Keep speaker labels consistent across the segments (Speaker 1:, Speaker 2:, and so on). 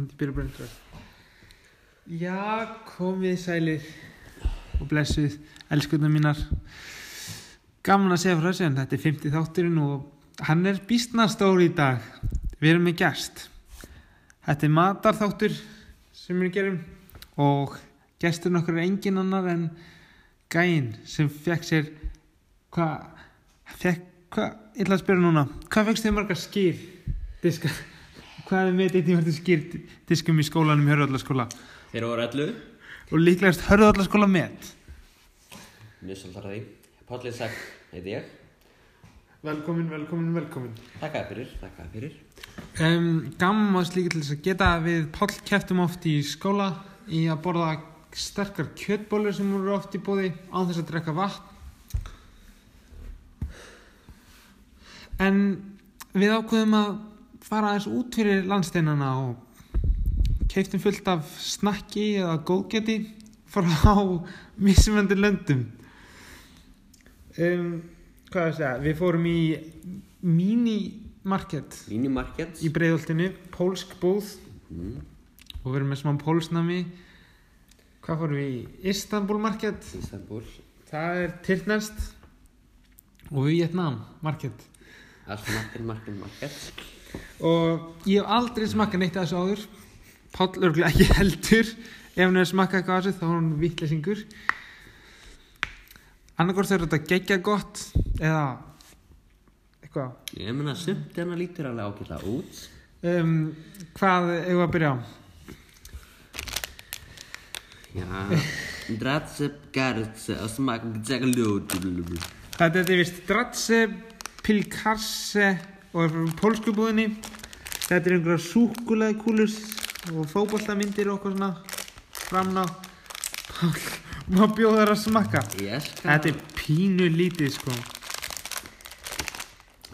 Speaker 1: Indi byrja bröndur Já, komið sælir og blessuð elskunna mínar Gaman að segja frá þessu en þetta er 50 þátturinn og hann er býstna stór í dag Við erum með gest Þetta er matarþáttur sem við gerum og gesturinn okkur er engin annar en gæinn sem fekk sér hvað fekk, hvað, ég ætla að spyrja núna hvað fekkst þið margar skýr diska, hvað er með þetta margar skýr diskum í skólanum í Hörðallaskóla
Speaker 2: Þeir voru allu
Speaker 1: og líklegast Hörðallaskóla með
Speaker 2: Mjög svolítið að því Pállið Sæk heiti ég
Speaker 1: Velkomin, velkomin, velkomin
Speaker 2: Takkaði fyrir Takkaði fyrir
Speaker 1: um, Gaman að slíka til þess að geta við Páll keftum oft í skóla í að borða sterkar kjötbólur sem voru oft í bóði án þess að drekka vatn En við ákveðum að fara aðeins út fyrir landsteinana og keiftum fullt af snakki eða góðgeti frá mismöndir löndum um, Hvað er að segja? Við fórum í mini-market
Speaker 2: Línumarkets
Speaker 1: í breiðoltinu, pólsk búð
Speaker 2: Mm,
Speaker 1: og við erum með smá pólsnami hvað fórum við í Istanbul market
Speaker 2: Istanbul
Speaker 1: það er tilnæst og Vietnam market
Speaker 2: Allt markin, markin, market
Speaker 1: og ég hef aldrei smakkað neitt af þessu áður Páll örgulega ekki heldur ef hann hefur smakkað eitthvað af þessu þá er hann vittlesingur annarkort er þetta geggja gott eða eitthvað
Speaker 2: Ég meina sumt hérna lítur alveg ágætlega út
Speaker 1: um, hvað eigum við að byrja á?
Speaker 2: Já Dratsep gartse og smak Gjagljóð
Speaker 1: Þetta er vist Dratse, Pilkarse og er frá pólsku búðinni. Þetta er einhverja súkulega kúlus og fótballtamyndir og okkur svona framná. Má bjóða þær að smakka.
Speaker 2: Ég elska
Speaker 1: Þetta er pínu lítið sko.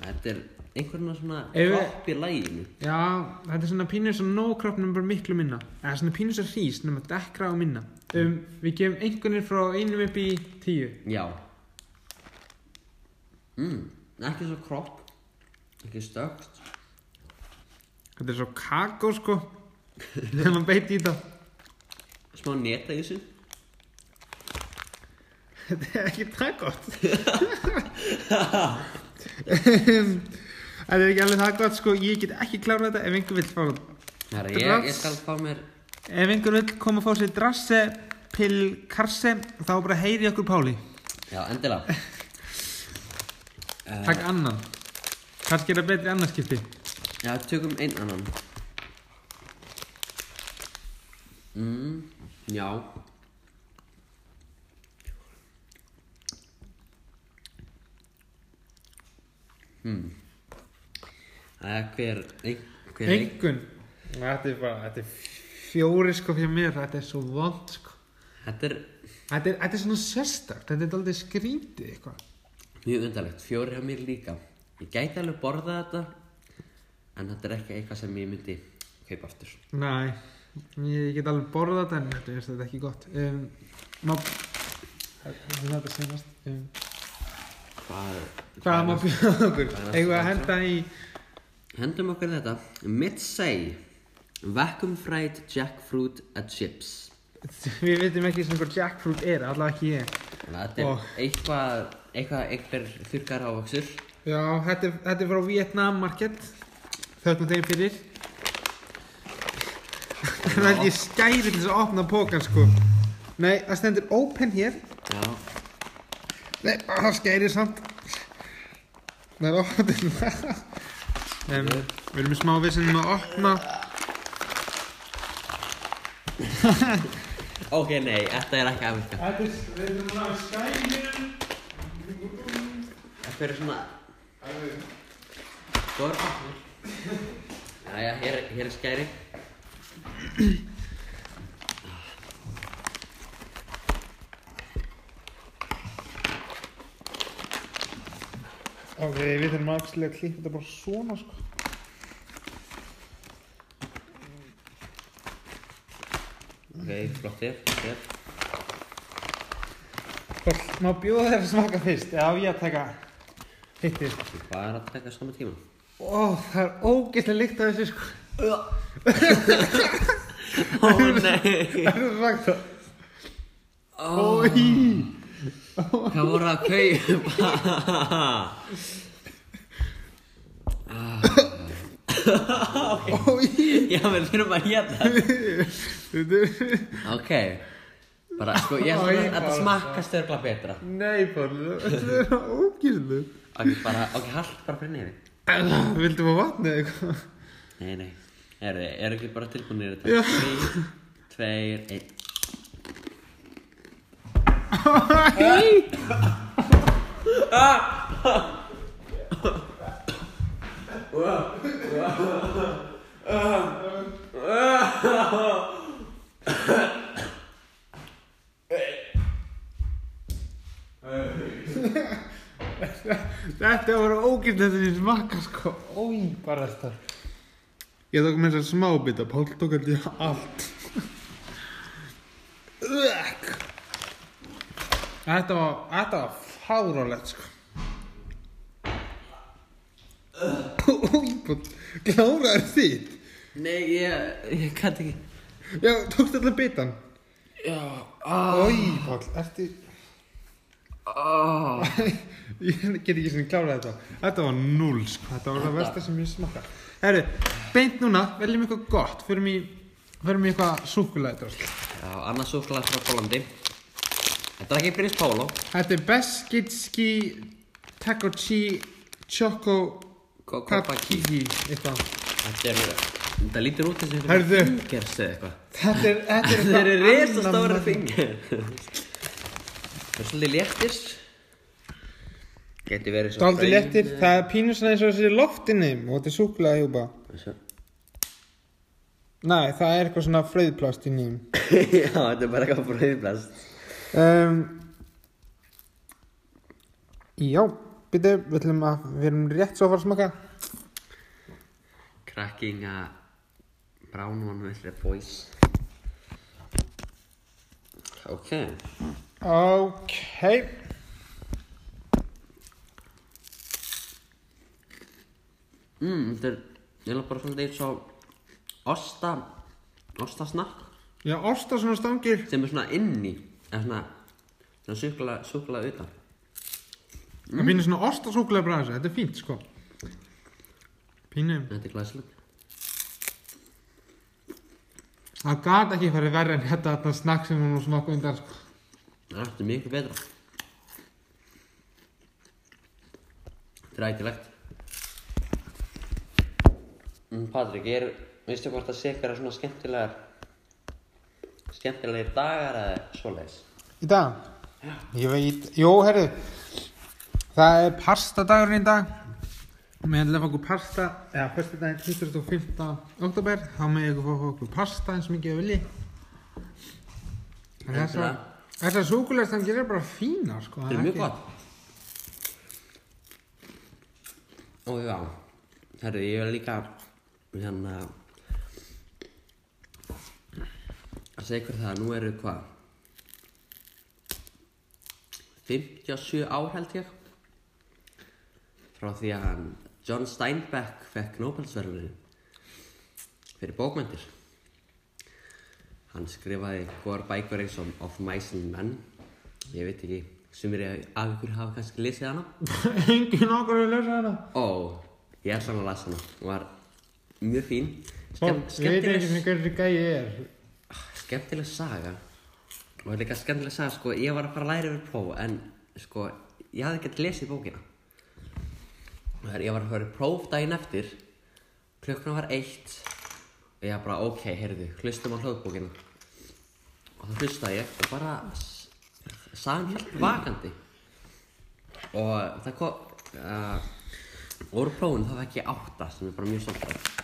Speaker 2: Þetta er einhvern veginn svona
Speaker 1: Ef við-
Speaker 2: Kropp í læginu
Speaker 1: Já, þetta er svona pínu sem nógkroppnum bara miklu minna. Eða svona pínu sem hrýst nema dekkra og minna. Um, við gefum einhvernir frá einum upp í tíu.
Speaker 2: Já mm, Ekki svo kropp Ekki stökt
Speaker 1: Þetta er svo kakó sko. Þegar maður beit í það.
Speaker 2: Smá neta í þessu
Speaker 1: Þetta er ekki það gott Em, Þetta er ekki alveg það gott sko Ég get ekki klárað þetta ef einhver vill fá
Speaker 2: Herra, ég, ég
Speaker 1: Drats-
Speaker 2: skal fá mér
Speaker 1: Ef einhver vill koma að fá sér drasse Pill karse Þá bara heyri okkur Páli
Speaker 2: Já, endilega
Speaker 1: Takk annan Kannski er það betri annarskipti
Speaker 2: Já, tökum einn annan mm, Já hmm. Það er hver ein- Hver ein-
Speaker 1: Engun Þetta er bara Þetta er fjóri sko fyrir mér Þetta er svo vond sko
Speaker 2: Þetta er
Speaker 1: Þetta er, þetta er svona sérstakt Þetta er aldrei skrítið eitthvað
Speaker 2: mjög undarlegt Fjóri hjá mér líka Ég gæti alveg borðað þetta En þetta er ekki eitthvað sem ég myndi kaupa aftur
Speaker 1: Nei, ég get alveg borðað þetta en þetta finnst þetta ekki gott um, má, Þetta er senast um,
Speaker 2: Hvað,
Speaker 1: Hvað má bjóða okkur?
Speaker 2: hvað er
Speaker 1: Eigum við að
Speaker 2: næsta?
Speaker 1: henda í
Speaker 2: Hendum okkur þetta Midsay Vacuum fried jackfruit and chips
Speaker 1: Við veitum ekki sem hvort jackfruit er, allavega ekki ég
Speaker 2: Þannig að Þetta er
Speaker 1: Ó.
Speaker 2: eitthvað, eitthvað einhver þurkar ávaksur
Speaker 1: Já, þetta er, þetta er frá Vietnam Market Þökkum þeim fyrir Það er ekki skæri til þess að opna pókan sko Nei, það stendur open hér
Speaker 2: Já,
Speaker 1: Nei, það skæri samt Það er ofnir um, Við erum í smá vissinum að opna
Speaker 2: ok nei, þetta er ekki að virka
Speaker 1: Þetta er, við erum að skæri
Speaker 2: Þetta er svona Góður bakkur Jæja, hér, er- hér er skæri
Speaker 1: Ok, við þurfum aðslega að klippa þetta bara svona sko
Speaker 2: Ok, flottir, flottir
Speaker 1: Bara- Má bjóða þér að smaka fyrst? Já, ég að taka hittir
Speaker 2: Hvað er að taka saman tíma?
Speaker 1: Ó, Ó, það er ógeðslega lykt af þessu sko.
Speaker 2: Ó nei
Speaker 1: Það er svagt það. Ói.
Speaker 2: Hvað voru að kaupa?
Speaker 1: Ói.
Speaker 2: Já, við þurfum að hérna
Speaker 1: Þetta er...
Speaker 2: Ok Bara, sko, ég ætla að þetta smakkast örgla betra
Speaker 1: Nei, Pálmi, þetta er ógeðslega.
Speaker 2: Ok, bara, ok, hald bara fyrir nefið
Speaker 1: Vildum að vatna eða eitthvað?
Speaker 2: Nei, nei, eru er ekki bara tilbúinir í
Speaker 1: Já.
Speaker 2: þetta? Þrý, tveir, einn
Speaker 1: Þetta voru ógeðslega þessi smaka sko. Ói, bara þetta. Ég tók með þess að smá bita, Pál tók aldrei allt. Ugh. Þetta var, þetta var fárálegt sko. Ói, Pál, kláraður þitt.
Speaker 2: Nei, ég, ég kann ekki
Speaker 1: Já, tókst alltaf bitan.
Speaker 2: Já, á,
Speaker 1: Ói, Pál, ertu...
Speaker 2: á
Speaker 1: Ég get ekki sem klárað þetta. Þetta var null, sko. Þetta var það versta sem ég smakka. Herru, beint núna, veljum eitthvað gott. Förum í, förum í eitthvað súkulæðdrösl.
Speaker 2: Já, annars súklaði frá Pólandi Þetta er ekki Brins Pólo
Speaker 1: Þetta er Beskidski Takochi Choco
Speaker 2: Kokopaki
Speaker 1: Kakiki, eitthvað.
Speaker 2: Þetta er, þetta lítur út þessi
Speaker 1: Heyrðu.
Speaker 2: Fingers eða eitthvað
Speaker 1: Þetta er, þetta er
Speaker 2: Þetta eru resa
Speaker 1: annað
Speaker 2: stóra
Speaker 1: maður.
Speaker 2: fingur Það er svolítið léttir Geti verið svo
Speaker 1: Dálítið léttir, það er pínu svona eins og þessi loftinni og þetta er súkulæði hjúpa.
Speaker 2: léttir
Speaker 1: Nei, það er eitthvað svona fröðplast í nýjum.
Speaker 2: Já, þetta er bara eitthvað brauðblast
Speaker 1: um, Já, byrju, við ætlum að við erum rétt svo að fara að smaka
Speaker 2: Krakkinga Brown one with the boys Ok
Speaker 1: Ok
Speaker 2: mm, Þetta er, ég er bara svona eins og Osta Ostasnakk
Speaker 1: Já, orsta svona stangir
Speaker 2: sem er svona inni eða svona, svona súkla, súkla utan
Speaker 1: Það finnir svona orsta súkulega bræðis Þetta er fínt, sko Pínu
Speaker 2: Þetta er glæsilegt
Speaker 1: Það gat ekki farið verri en þetta Þetta snakk sem hún var að smaka undan sko.
Speaker 2: Þetta er mikið betra Þetta er ætilegt mm, Patrik, ég er, veistu hvort það sé hverja svona skemmtilegar skemmtilegir dagar eða svoleiðis
Speaker 1: Í dag Ég veit, jú, herru Það er pastadagurinn í dag og Mér ætlaði að fá okkur pasta eða fyrstu daginn 25. oktober þá með ég að fá okkur pasta eins mikið að vilji En þessar
Speaker 2: Endilega.
Speaker 1: þessar súkulegstangar eru bara fínar sko
Speaker 2: Þetta er mjög gott Og já Herri, ég er líka hérna að segja ykkur það að nú eru hvað 57 ár held ég frá því að hann John Steinbeck fekk Nobelsverðinu fyrir bókmyndir hann skrifaði góðar bækur eins og Of Mice and Men ég veit ekki, sumir af ykkur hafa kannski lesið hana
Speaker 1: gott Engin okkur að lesa hana
Speaker 2: ó, ég ætla hann að lasa hana hún var mjög fín
Speaker 1: Ég
Speaker 2: Skemm-
Speaker 1: veit ekki
Speaker 2: skemmtileg-
Speaker 1: sem hverju gæi er
Speaker 2: skemmtileg saga og líka skemmtileg saga sko, ég var að fara að læra yfir próf en sko, ég hafði ekkert lesið bókina þegar ég var að fara yfir próf daginn eftir klukkuna var eitt og ég var bara ok, heyrðu, hlustum á hljóðbókina og það hlustaði ég og bara s- sagan helt vakandi og það kom uh, úr prófun það fekk ég átta sem er bara mjög stolt af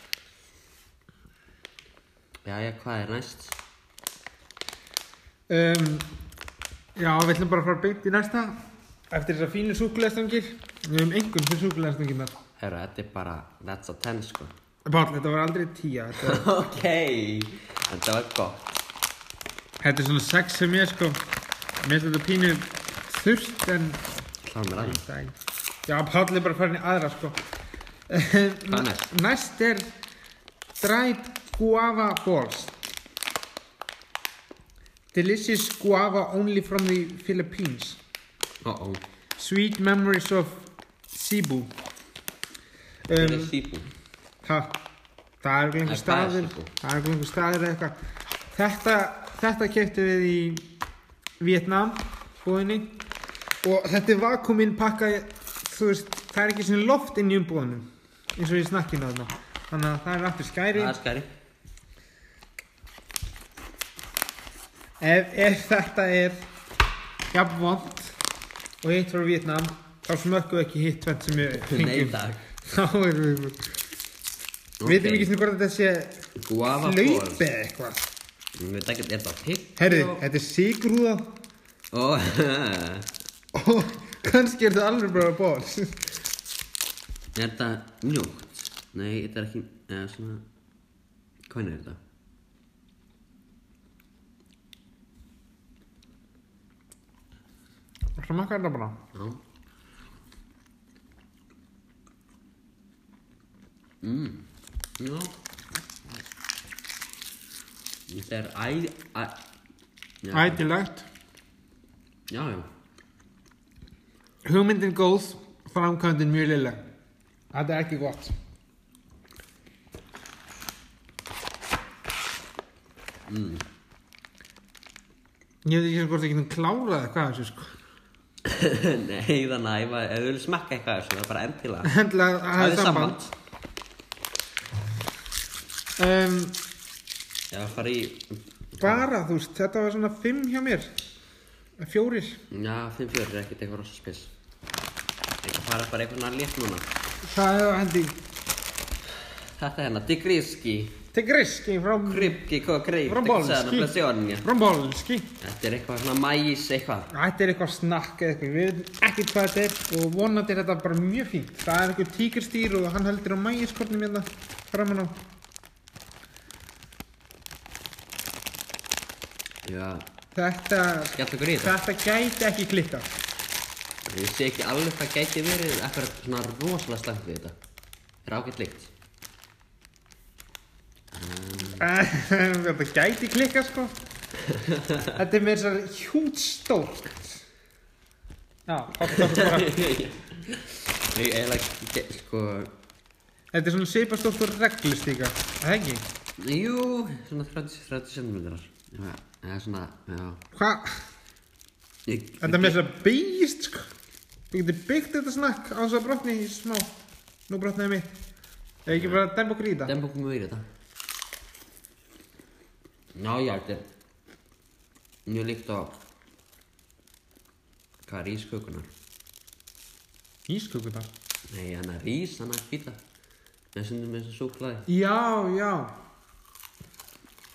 Speaker 2: Jæja, hvað er næst?
Speaker 1: um, Já, við ætlum bara að fara beint í næsta eftir þessar fínu súkulegstangir Við höfum engum fyrir súkulegstanginnar
Speaker 2: Herru, þetta er bara, that's a ten sko
Speaker 1: Pál, þetta var aldrei tíja þetta
Speaker 2: Ok, þetta var gott
Speaker 1: Þetta er svona sex sem ég sko Mér finnst þetta pínu þurft en
Speaker 2: Kláðum við aðeins
Speaker 1: Dæ. Já, Páll er bara farin í aðra sko Hvað
Speaker 2: er næst?
Speaker 1: Næst er Dried Guava Balls Delicious guava only from the Philippines
Speaker 2: Ó, ó,
Speaker 1: Sweet memories of Cebu
Speaker 2: það er
Speaker 1: um,
Speaker 2: síbú
Speaker 1: ha, Það er einhver
Speaker 2: Það er sko.
Speaker 1: staður
Speaker 2: Cebu.
Speaker 1: Það er einhver staður eða eitthvað Þetta, þetta keftum við í Vietnam búðinni og þetta er vakuuminn pakkað þú veist, það er ekki svona loft inn í umbúðunum eins og í snakkinu þarna þannig að það er aftur skæri
Speaker 2: Það er skæri
Speaker 1: ef, ef þetta er jafnvont og hitt frá Vietnam þá smökkum við ekki hitt tvent sem við
Speaker 2: Nei,
Speaker 1: fengjum
Speaker 2: takk
Speaker 1: þá erum við við veitum ekki svona hvort þetta sé
Speaker 2: Guava ból
Speaker 1: hlaupi eða eitthvað
Speaker 2: Við veit ekki, er það pipp?
Speaker 1: herri, þetta er sigrúða
Speaker 2: Ó,
Speaker 1: og kannski er þetta alveg bara ból
Speaker 2: er það mjúkt? Nei, þetta er ekki, eða svona Hvernig er þetta?
Speaker 1: það makkar þetta bara
Speaker 2: Já Mm, já Þetta er æ, æ já,
Speaker 1: ætilegt
Speaker 2: Já, já
Speaker 1: hugmyndin góð, framkvæmdin mjög lilla þetta er ekki gott
Speaker 2: Mm.
Speaker 1: ég veit ekki sem hvort það getum klárað hvað þessu sko
Speaker 2: Nei, þannig að ef að- ef þú vil smakka eitthvað af þessu, það er bara endilega
Speaker 1: hendla að
Speaker 2: Það
Speaker 1: hafa
Speaker 2: er
Speaker 1: samband
Speaker 2: samband
Speaker 1: um,
Speaker 2: Já, fara í
Speaker 1: bara þú veist, þetta var svona fimm hjá mér fjórir
Speaker 2: Já, 5-4 er ekkert eitthvað rosa spil Ég fara bara eitthvað nær létt núna
Speaker 1: það er hendi
Speaker 2: Þetta er hérna, digríski
Speaker 1: Tigriski frá
Speaker 2: Kripki, hvað greip
Speaker 1: Rombolski Rombolski
Speaker 2: Þetta er eitthvað svona mæs eitthvað
Speaker 1: Þetta er eitthvað snakk eða eitthvað, við veitum ekkert hvað þetta er og vonandi er þetta bara mjög fínt. Það er eitthvað tíkirstýr og hann heldur á mægiskornum hérna framan á.
Speaker 2: Já,
Speaker 1: Þetta,
Speaker 2: skemmt okkur í þetta
Speaker 1: þetta gæti ekki klikka.
Speaker 2: Ég sé ekki alveg hvað gæti verið eitthvað svona rosalega slæmt við þetta. Það er ágætt líkt.
Speaker 1: þetta gæti klikka sko. Þetta er með þessar hjút stórt. Já, hoppar bara.
Speaker 2: Ég eiginlega, ge- sko,
Speaker 1: Þetta er svona svipastórt og reglustíka, er það ekki?
Speaker 2: jú, svona 30-30 centimetrar. Já, eða svona, já.
Speaker 1: Hvað?
Speaker 2: Ég,
Speaker 1: Þetta er með þess að beigist sko. Þú getur byggt þetta snakk á þess að brotni í smá. Nú brotnaði mitt. Eða ekki bara að dempa okkur í þetta.
Speaker 2: Demba okkur mjög í þetta. Já, já, þetta er mjög líkt á, hvað er ískökunar?
Speaker 1: Ískökunar.
Speaker 2: Nei, hann er ís, hann er hvita. Með sem með þessu súklaði.
Speaker 1: Já, já.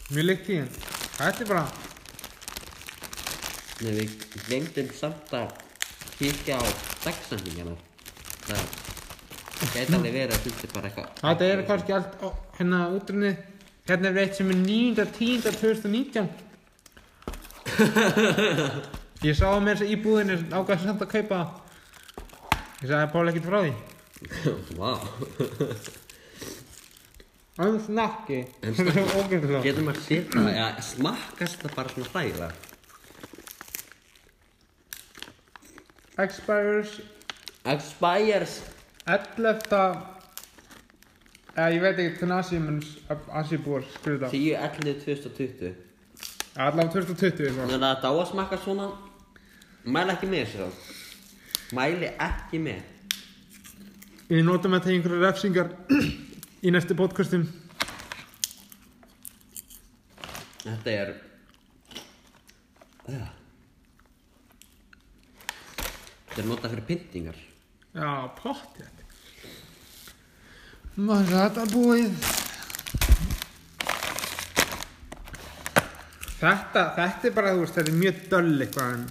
Speaker 1: Mjög leikt í henn. Þetta er bara,
Speaker 2: Nei, við glemdum samt að kíkja á dagsetningarnar. Það gæti alveg verið að þetta er bara eitthvað.
Speaker 1: þetta er kannski allt á, hérna útrunni. Hérna er eitt sem er 9.10.2019. Ég sá það með þess að íbúðinu ákvæðið samt að kaupa það. Ég sagði Páli ekkert frá því.
Speaker 2: Vá.
Speaker 1: Það er snakki.
Speaker 2: En
Speaker 1: Þetta er
Speaker 2: snakki.
Speaker 1: ógæðilega.
Speaker 2: Getum að setja það, eða smakkast það bara svona hræðilega.
Speaker 1: Expires
Speaker 2: Expires.
Speaker 1: 11. Eða, ég veit ekki hvernig Asimuns, Asibúr skriði það.
Speaker 2: 10.11.2020.
Speaker 1: Allavega 2020 eitthvað.
Speaker 2: Þannig að þetta á að smakka svona, mæla ekki með þessu þá. Mæli ekki með.
Speaker 1: Við notum þetta í einhverju refsingar í næstu podcastum.
Speaker 2: Þetta er... Ugh. Þetta er notað fyrir pyntingar.
Speaker 1: Já, pottjætt. Var þetta búið? Þetta, þetta er bara, þú veist, þetta er mjög döll eitthvað en...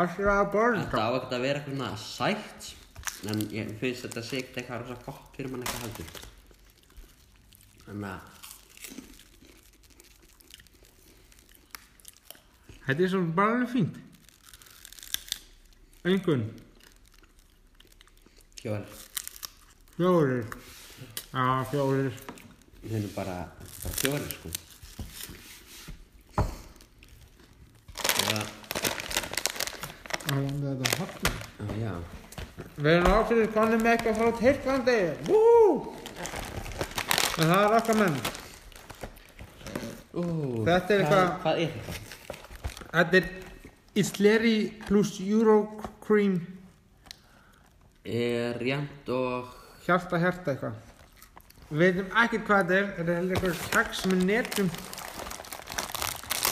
Speaker 1: Allra borða.
Speaker 2: Þetta á ekkert að vera eitthvað svona sætt En ég finnst þetta sé ekkert eitthvað rosa gott fyrir mann eitthvað heldur Þannig að
Speaker 1: Þetta er svo bara alveg fínt. Engun.
Speaker 2: Kjól
Speaker 1: Fjórir. Já, fjórir.
Speaker 2: Við erum bara, bara fjórir sko Eða,
Speaker 1: Það er landið þetta hafna.
Speaker 2: á, já
Speaker 1: Við erum áfyrir konum með eitthvað frá Tyrklandi. Vú! En það er okkar menn.
Speaker 2: Ú,
Speaker 1: Þetta er
Speaker 2: hvað-
Speaker 1: eitthvað-
Speaker 2: Hvað er þetta?
Speaker 1: Þetta er Isleri pluss Eurocream
Speaker 2: Er jæmt og
Speaker 1: hjarta hjarta eitthvað. Við veitum ekkert hvað þetta er. Þetta er heldur eitthvað keks með netum.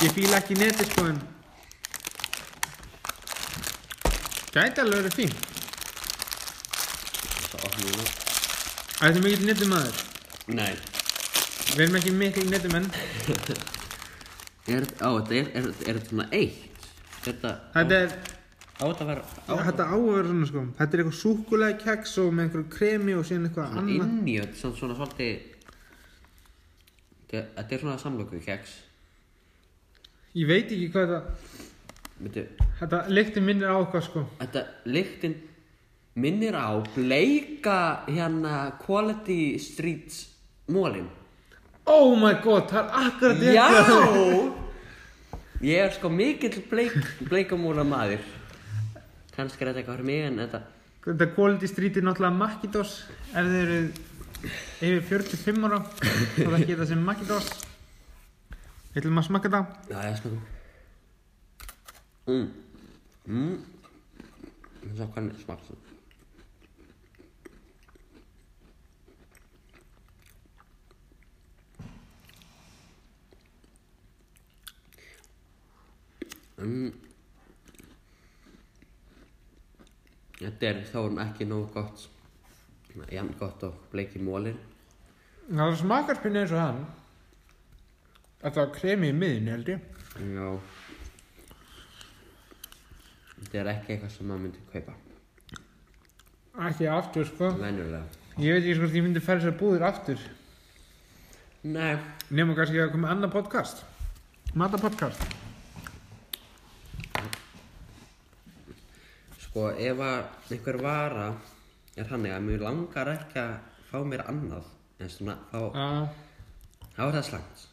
Speaker 1: Ég fíla ekki neti sko en... Gæti alveg verið fín.
Speaker 2: Svo opnum við nú
Speaker 1: Það er mikill netum aður.
Speaker 2: Nei
Speaker 1: Við erum ekki mikill netum en
Speaker 2: Er, á, þetta er, er, er þetta svona eitt? Þetta
Speaker 1: þetta er...
Speaker 2: Á þetta að vera á,
Speaker 1: Þetta á að vera svona sko. Þetta er eitthvað súkulega keks og með einhverju kremi og síðan eitthvað
Speaker 2: svona
Speaker 1: annað.
Speaker 2: Inni, þetta er svona, svona svolítið Þetta er- þetta er svona samlöku keks
Speaker 1: Ég veit ekki hvað þetta...
Speaker 2: Veitu,
Speaker 1: Þetta lykti minnir á okkar sko.
Speaker 2: Þetta lyktin minnir á bleika hérna Quality Streets mólin.
Speaker 1: Oh my god, það er akkurat
Speaker 2: Já! Ég er sko mikill bleik, bleikamóla maður. Kannski er þetta eitthvað fyrir mig en þetta...
Speaker 1: Þetta Quality Street er náttúrulega Makitos ef þið eru yfir 45 ára þá það geta sem Makitos Við ætlum að smakka það
Speaker 2: Já, sko. ég smakum. Mm. Mm. Svo hvernig smakst það? Mm. Þetta er þá erum ekki nógu gott jafn gott og bleiki mólin
Speaker 1: Það smakar spynni eins og hann Þetta var kremi í miðinu held ég
Speaker 2: Já Þetta er ekki eitthvað sem maður myndi kaupa
Speaker 1: Ekki aftur sko
Speaker 2: Venjulega
Speaker 1: Ég veit ekki sko hvort ég myndi færa sér búðir aftur
Speaker 2: Nei
Speaker 1: Nefnum kannski að koma annað podcast Matapodcast
Speaker 2: Sko ef að einhver vara er hannig að mér langar ekki að fá mér annað en svona þá,
Speaker 1: uh,
Speaker 2: þá er það slæmt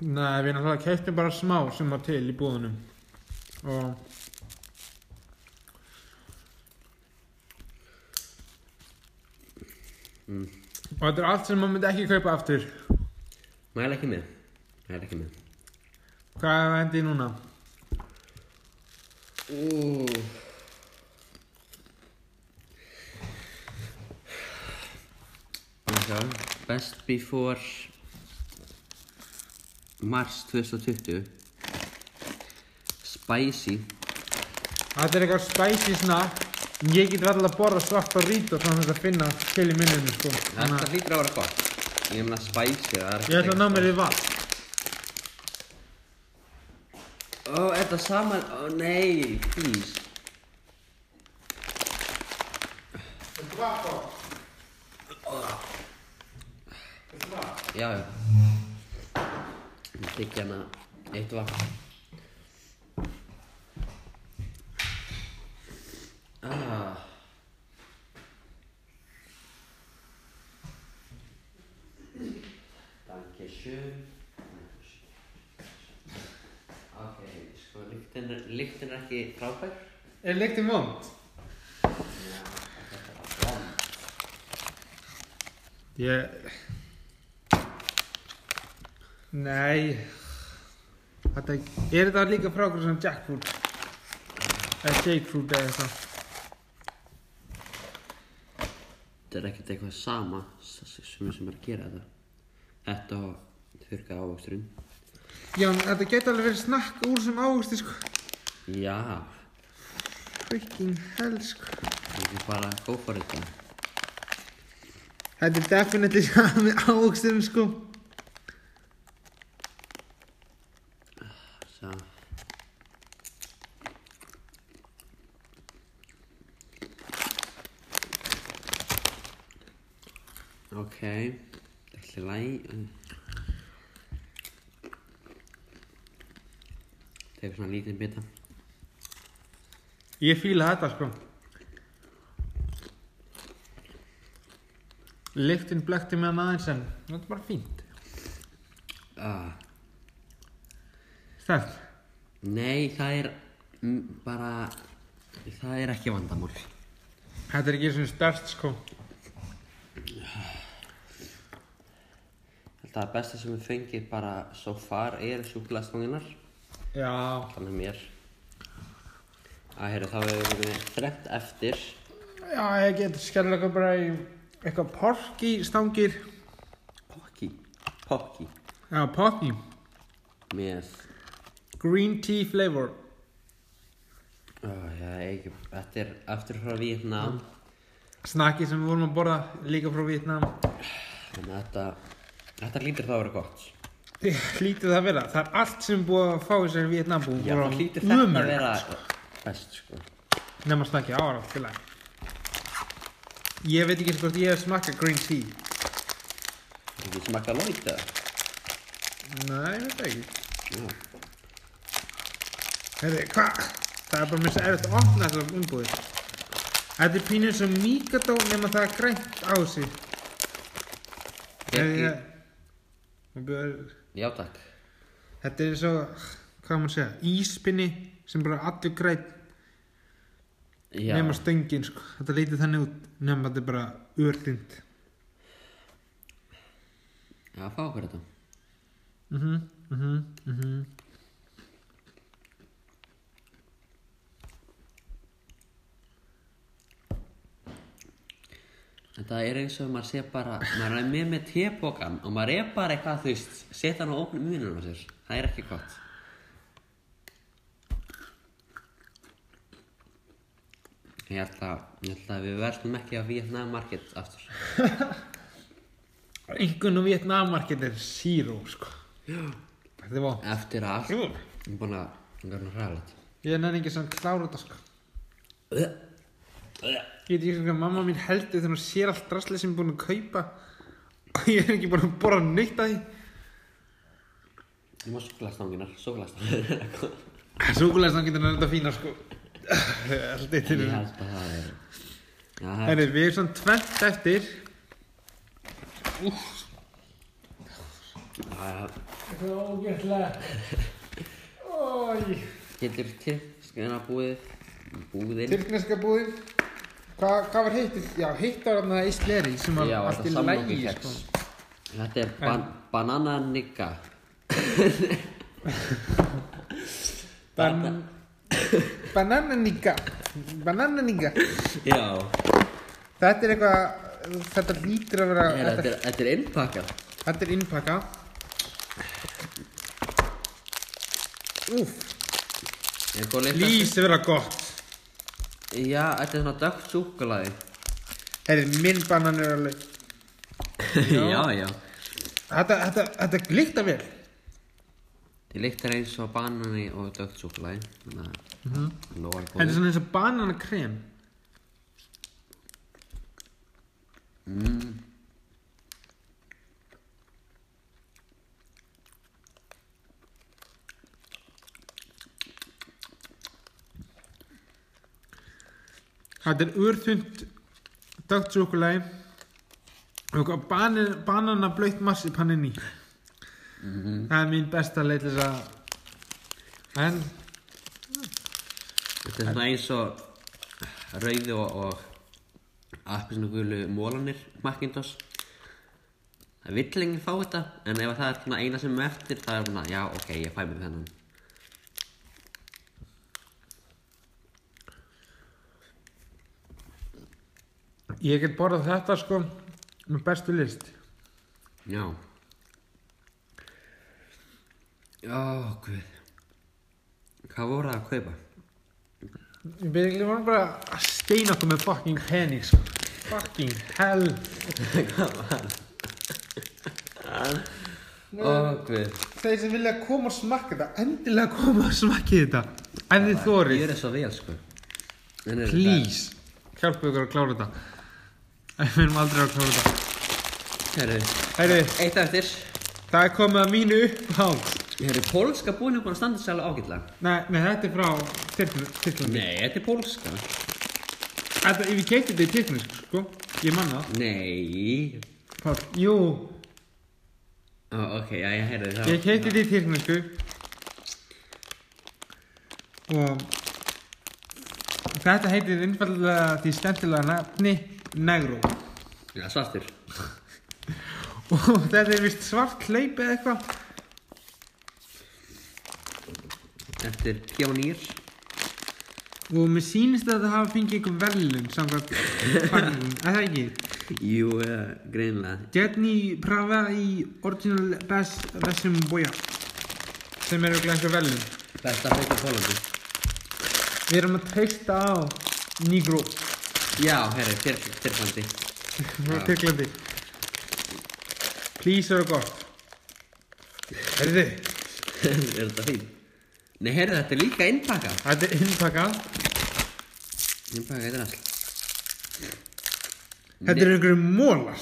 Speaker 1: Nei, við náttúrulega keftum bara smá sem var til í búðunum og
Speaker 2: Mm.
Speaker 1: og þetta er allt sem maður myndi ekki kaupa aftur
Speaker 2: Mæla ekki með Mæla ekki með
Speaker 1: Hvað er endið núna?
Speaker 2: Ú. Sjá, Best before Mars 2020 Spicy
Speaker 1: Þetta er eitthvað spicy snack Ég get alltaf að borða svarta rít og þannig að finna til í minninu sko Þannig
Speaker 2: Þetta
Speaker 1: að
Speaker 2: hlýtur að vera gott Ég meina spicy það er
Speaker 1: ég ætla að ná mér í vatn
Speaker 2: Ó, er það saman? Ó, nei, please Já, já Ég tek hérna eitt vatn Ah Dankeschön. Ok, sko lyktin er, lyktin er ekki frábær.
Speaker 1: Er leiktið vond? Ég... Nei... Þetta... Er þetta líka frá okkur sem jackfruit? Eða shakefruit eða eitthvað?
Speaker 2: Þetta er ekkert eitthvað sama s- sem sem er að gera þetta. Þetta og þurrkaði ávaksturinn.
Speaker 1: Já, en þetta geti alveg verið snakk úr sem águsti, sko.
Speaker 2: Já,
Speaker 1: Freaking hell, sko.
Speaker 2: það er ekki bara að go for it það.
Speaker 1: Þetta er definitely sami águstin, sko.
Speaker 2: Svo. Ok, þetta er allir læg. Tegur svona lítið bita.
Speaker 1: Ég fíla þetta, sko. Lyktin blökti með hann aðeins en þetta er bara fínt.
Speaker 2: Ah,
Speaker 1: Stært.
Speaker 2: nei, það er mm, bara, það er ekki vandamál.
Speaker 1: Þetta er ekki svona stært sko.
Speaker 2: Þetta er besta sem við fengið bara so far er sjúkulastónginar,
Speaker 1: Já.
Speaker 2: þannig mér. Að heyra, þá erum við þremt eftir.
Speaker 1: Já, ég get skerðið eitthvað bara í eitthvað porki stangir.
Speaker 2: Pokki, pokki,
Speaker 1: Já, porki.
Speaker 2: með,
Speaker 1: Green tea flavor.
Speaker 2: oh, já, ekki, þetta er eftir frá Víetnam.
Speaker 1: Snakki sem við vorum að borða líka frá Vietnam.
Speaker 2: Þannig að þetta, þetta lítur það að vera gott.
Speaker 1: Lítið það að vera. Það er allt sem er búið að fá í sér Vietnam búið.
Speaker 2: Já, það lítur þetta að vera best, sko.
Speaker 1: Nefn að snakki ára til að. Ég veit ekki eins hvort ég hef smakkað green tea.
Speaker 2: Það er ekki smakka lóit eða?
Speaker 1: Nei, ég veit það ekki.
Speaker 2: Já.
Speaker 1: Herri, hvað? Það er bara mér svo erfitt að opna þessar umbúðir. Þetta er pínu eins og mikadó nema það er grænt á sig. Herri, ég... Ég byrja-
Speaker 2: Já, takk.
Speaker 1: Þetta er eins og, hvað á maður að segja, íspinni sem bara allur grænt
Speaker 2: Já.
Speaker 1: nema stöngin, sko. Þetta lítið þannig út nema þetta er bara örlind.
Speaker 2: Já, fá okkur þetta.
Speaker 1: Mhm, mhm, mhm.
Speaker 2: Þetta er eins og maður sé bara, maður er með með tepokan og maður er bara eitthvað, þú veist, setja hann á opnum munum á sér. Það er ekki gott. Ég held að, ég held að við verðum ekki á Vietnam Market aftur.
Speaker 1: Engun og Vietnammarkið er zero, sko. Já. Þetta er vond.
Speaker 2: Eftir að allt,
Speaker 1: Jú.
Speaker 2: ég er búin að, ég er búin að hraða þetta.
Speaker 1: Ég er nefnir ekki svona klára þetta, sko.
Speaker 2: Ugh. Ugh.
Speaker 1: Ég veit ekki svona hvað mamma mín heldur þegar hún sér allt drastlið sem ég er búin að kaupa og ég er ekki búin að borra neitt að því.
Speaker 2: Ég má súkulastanginar, súkulastanginar.
Speaker 1: Súkulega samkyndan er þetta fína sko. Allt eitt til
Speaker 2: Ég
Speaker 1: þér.
Speaker 2: held að það er... Já, það er...
Speaker 1: Herri, við erum svona tvent eftir.
Speaker 2: Já, já.
Speaker 1: Það er ógætlega. Ói.
Speaker 2: Getur tilskina búið, búðinn.
Speaker 1: Tyrkneska búðin. Hva, hvað var hitt? Já, hitt var þarna Ísleri sem var
Speaker 2: Já,
Speaker 1: allt í
Speaker 2: þetta samlokur
Speaker 1: lægi
Speaker 2: keks.
Speaker 1: sko.
Speaker 2: Þetta er ban banananigga.
Speaker 1: Ban Banananíka. Banananíka.
Speaker 2: Já.
Speaker 1: Þetta er eitthvað, þetta lítur að vera,
Speaker 2: Heyrðu,
Speaker 1: þetta,
Speaker 2: Þetta er, þetta er innpakkað.
Speaker 1: þetta er innpakka. Úf,
Speaker 2: Er góð lykt af-
Speaker 1: lýsi vera gott.
Speaker 2: Já, þetta er svona dögt súkulaði.
Speaker 1: Herri, minn banan er alveg,
Speaker 2: já, já.
Speaker 1: þetta, þetta, þetta glíkta vel.
Speaker 2: Þetta lyktar eins og banani og dögt súkulaði. Þannig að lóa
Speaker 1: Þetta er
Speaker 2: góð.
Speaker 1: svona eins og bananakrem. Þetta er urþund dögt súkulegi og banana blöytt marsipan inn í. Það er mín besta leið til þess að en
Speaker 2: Þetta er svona eins og rauði og, og appisnugulu mólanir Macintosh. Það vill enginn fá þetta, en ef það er svona eina sem er eftir, það er svona, já, ok, ég fæ mér þennan.
Speaker 1: Ég get borðað þetta sko með bestu list.
Speaker 2: Já. Ó, guð. Hvað voru það að kaupa?
Speaker 1: Ég byrja ekki vorum bara að steina okkur með fucking pening sko. Fucking hell.
Speaker 2: Ó, guð.
Speaker 1: Þeir sem vilja koma og smakka þetta, endilega koma og smakki þetta. Ef þið
Speaker 2: Ég
Speaker 1: þórið,
Speaker 2: er svo vel, sko. En er
Speaker 1: please, hjálpa ykkur að klára þetta. Við erum aldrei að klára þetta.
Speaker 2: Herru,
Speaker 1: Herri,
Speaker 2: eitt eftir.
Speaker 1: það er komið að mínu uppháð.
Speaker 2: Herru, pólska búinu búin að standa sér alveg ágætlega.
Speaker 1: Nei, nei, þetta er frá Tyrklandi.
Speaker 2: Nei, þetta er pólska.
Speaker 1: Þetta, ég kefti þetta í Tyrklandi sko. Ég man það.
Speaker 2: Nei
Speaker 1: Pál, jú,
Speaker 2: Ó, Ok, já, ég heyrði það
Speaker 1: ég keiti því týrnusku og þetta heitir innfallega því skemmtilega nafni Negro
Speaker 2: Já, svartur
Speaker 1: og þetta er vist svart hleyp eða eitthvað
Speaker 2: Þetta er pjónýr
Speaker 1: og mér sýnist að það hafa fengið einhver verðlun samkvæmt fannum, er það ekki?
Speaker 2: Jú, uh, greinlega
Speaker 1: Jenny Prava í Original Best Vesum Boya sem er auðvitað einhver velum
Speaker 2: Besta fólk á Pólandi
Speaker 1: Við erum að treysta á Negro
Speaker 2: Já, heyrði, Tyrk- Tyrklandi
Speaker 1: frá Tyrklandi Please eru gott Herðu,
Speaker 2: Er þetta fín? Nei, heyrðu, þetta er líka innpakka
Speaker 1: þetta er innpakka
Speaker 2: Innpakka eitthvað all
Speaker 1: Þetta eru einhverjum mólar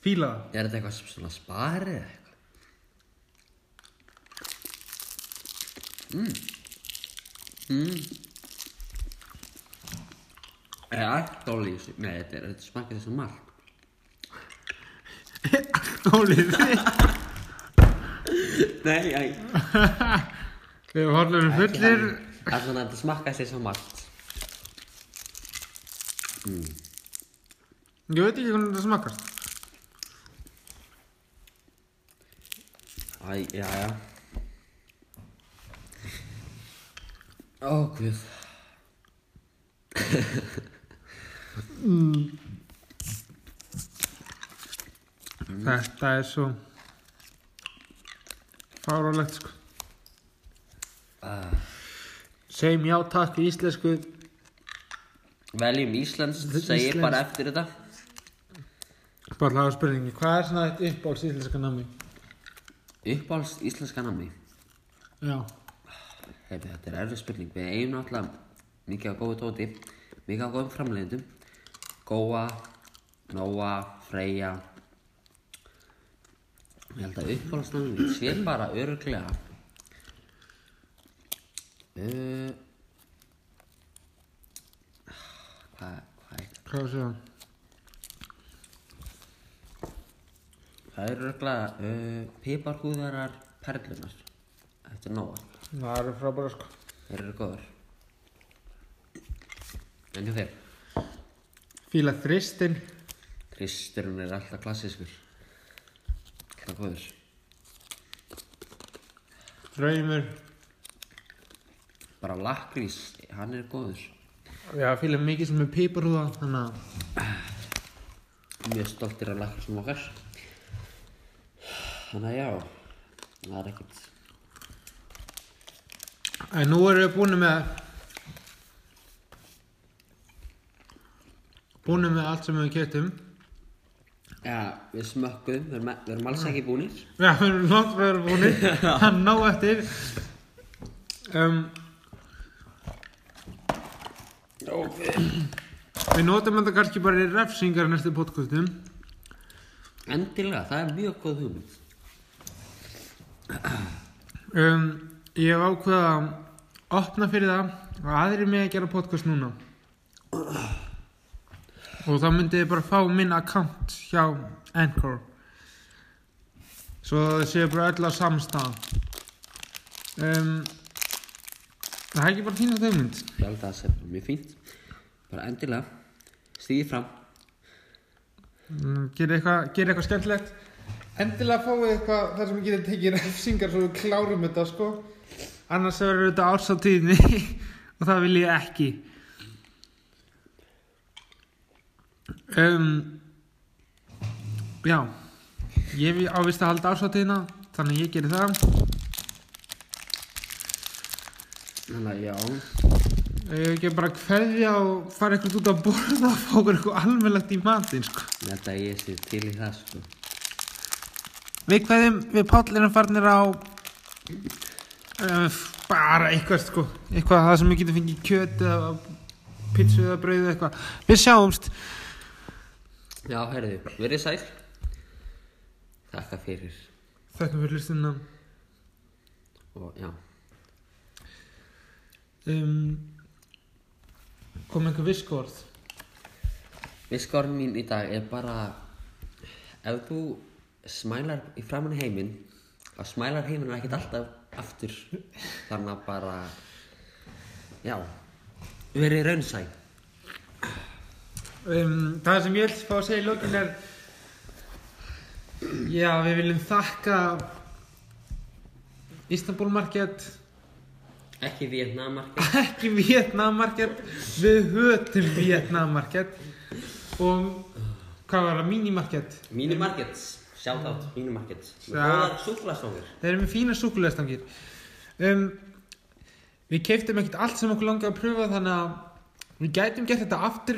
Speaker 1: Fíla það
Speaker 2: Er þetta eitthvað sem svona spari eða eitthvað? Mm. Mm. Er allt ólíf í þessu? Nei, þetta, er, þetta smakar þess að marg.
Speaker 1: Nálið
Speaker 2: Nei, æ.
Speaker 1: Við horfum fullir
Speaker 2: Það er svona að þetta smakar þess að marg.
Speaker 1: Ég veit ekki hvernig þetta smakast
Speaker 2: Æ, já, já. Ó, guð.
Speaker 1: Mm. Þetta er svo fárálegt sko. Ah. Segjum já takk í íslensku
Speaker 2: Veljum Íslands, segir
Speaker 1: Íslands.
Speaker 2: bara eftir þetta.
Speaker 1: Bara hafa spurningi, hvað er svona eitt uppáls íslenska námi?
Speaker 2: Uppáhalds íslenska namni.
Speaker 1: Já
Speaker 2: Heyrðu, þetta er erfið spurning. Við eigum náttúrulega mikið á góðu tóti, mikið á góðum framleiðendum. Góa, Nóa, Freyja. Ég held að uppáhaldsnafnum sé bara öruglega. Uh, hvað, hvað, er-
Speaker 1: Hvað var það?
Speaker 2: það er öruglega uh, piparhúðarar perlunar eftir Nóa.
Speaker 1: Það eru frábæra sko
Speaker 2: Þeir eru góðar. En hjá þér?
Speaker 1: Fíla þristin
Speaker 2: Kristurinn er alltaf klassískur Alltaf góður
Speaker 1: Draumur
Speaker 2: Bara lakrís, hann er góður
Speaker 1: Já, fíla mikið sem er piparúða Þannig að
Speaker 2: Mjög stoltir af lakrísum okkar Þannig að já Það er ekkert
Speaker 1: En nú erum við búin með Búin með allt sem við kertum
Speaker 2: Já, við smökkum, við erum, við erum alls ekki búnir
Speaker 1: Já, við erum langt frá að vera búinir Það er ná eftir um,
Speaker 2: okay.
Speaker 1: Við notum þetta kannski bara í refsingar í næstu podcastum
Speaker 2: Endilega, það er mjög góð hugmynd
Speaker 1: um, Ég hef ákveða að opna fyrir það og aðrir mig að gera podcast núna og þá myndi ég bara fá minn account hjá Anchor svo það séu bara öll á samstað um, Það er ekki bara þín að þau mynd
Speaker 2: Ég held að það sé bara mjög fínt Bara endilega, stíði fram
Speaker 1: gera Mm, eitthvað, gera eitthvað skemmtilegt endilega fáið eitthvað þar sem ég geti tekið refsingar svo við klárum þetta sko annars verður þetta ársáttíðni og það vil ég ekki um, já ég hef ávist að halda ársáttíðina þannig að ég geri það
Speaker 2: Þannig að já,
Speaker 1: ég ekki bara hverja og fara eitthvað út að borða og fá okkur eitthvað almennlegt í matinn sko
Speaker 2: þetta ég sé til í það sko
Speaker 1: Við hverjum, við pállirum farnir á uh, bara eitthvað sko, eitthvað það sem við getum fengið kjöt eða pítsu eða brauð eða eitthvað. Við sjáumst.
Speaker 2: Já, herðu, verið sæl Takka fyrir
Speaker 1: Þakka fyrir hlustunna.
Speaker 2: og já
Speaker 1: Um, kom einhver viskorð?
Speaker 2: Visskórn mín í dag er bara ef þú smælar í framann heiminn þá smælar heiminn ekkert alltaf aftur þannig að bara já verið raunsæ
Speaker 1: Um, það sem ég vil fá að segja í lókin er Já, við viljum þakka Istanbul Market
Speaker 2: ekki Vietnamarkið
Speaker 1: ekki Vietnam Market við hötum Vietnam Market og hvað var það, Mini Market
Speaker 2: Mínumarkið, shout out Mínumarkið
Speaker 1: Ja.
Speaker 2: góðar súklaðsóngur
Speaker 1: þeir eru með fína súkulegastangir um, við keiftum ekkert allt sem okkur langar að pröfa þannig að við gætum gert þetta aftur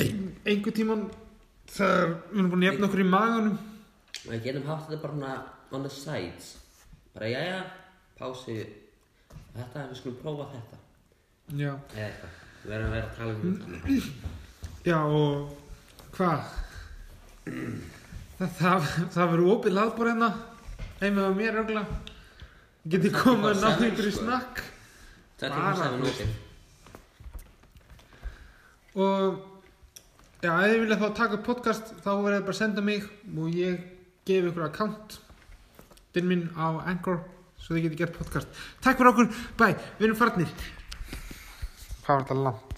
Speaker 1: ein- einhver tíman þegar við erum búin að jafna okkur í maganum
Speaker 2: við getum haft þetta bara svona on the sides bara jæja, pási þetta, við skulum prófa þetta
Speaker 1: já,
Speaker 2: eða eitthvað, við verðum að vera að tala um þetta
Speaker 1: já og hvað það, það, það verður opið laðbúr hérna heima á mér örgla getið komið að ná einhverju snakk
Speaker 2: þetta er hans að við nútið
Speaker 1: og já, ef þið vilja þá taka upp podcast þá verður þið bara að senda mig og ég gef ykkur account til minn á Anchor svo þið getið gert podcast takk fyrir okkur, bye, við erum farnir hvað var þetta langt?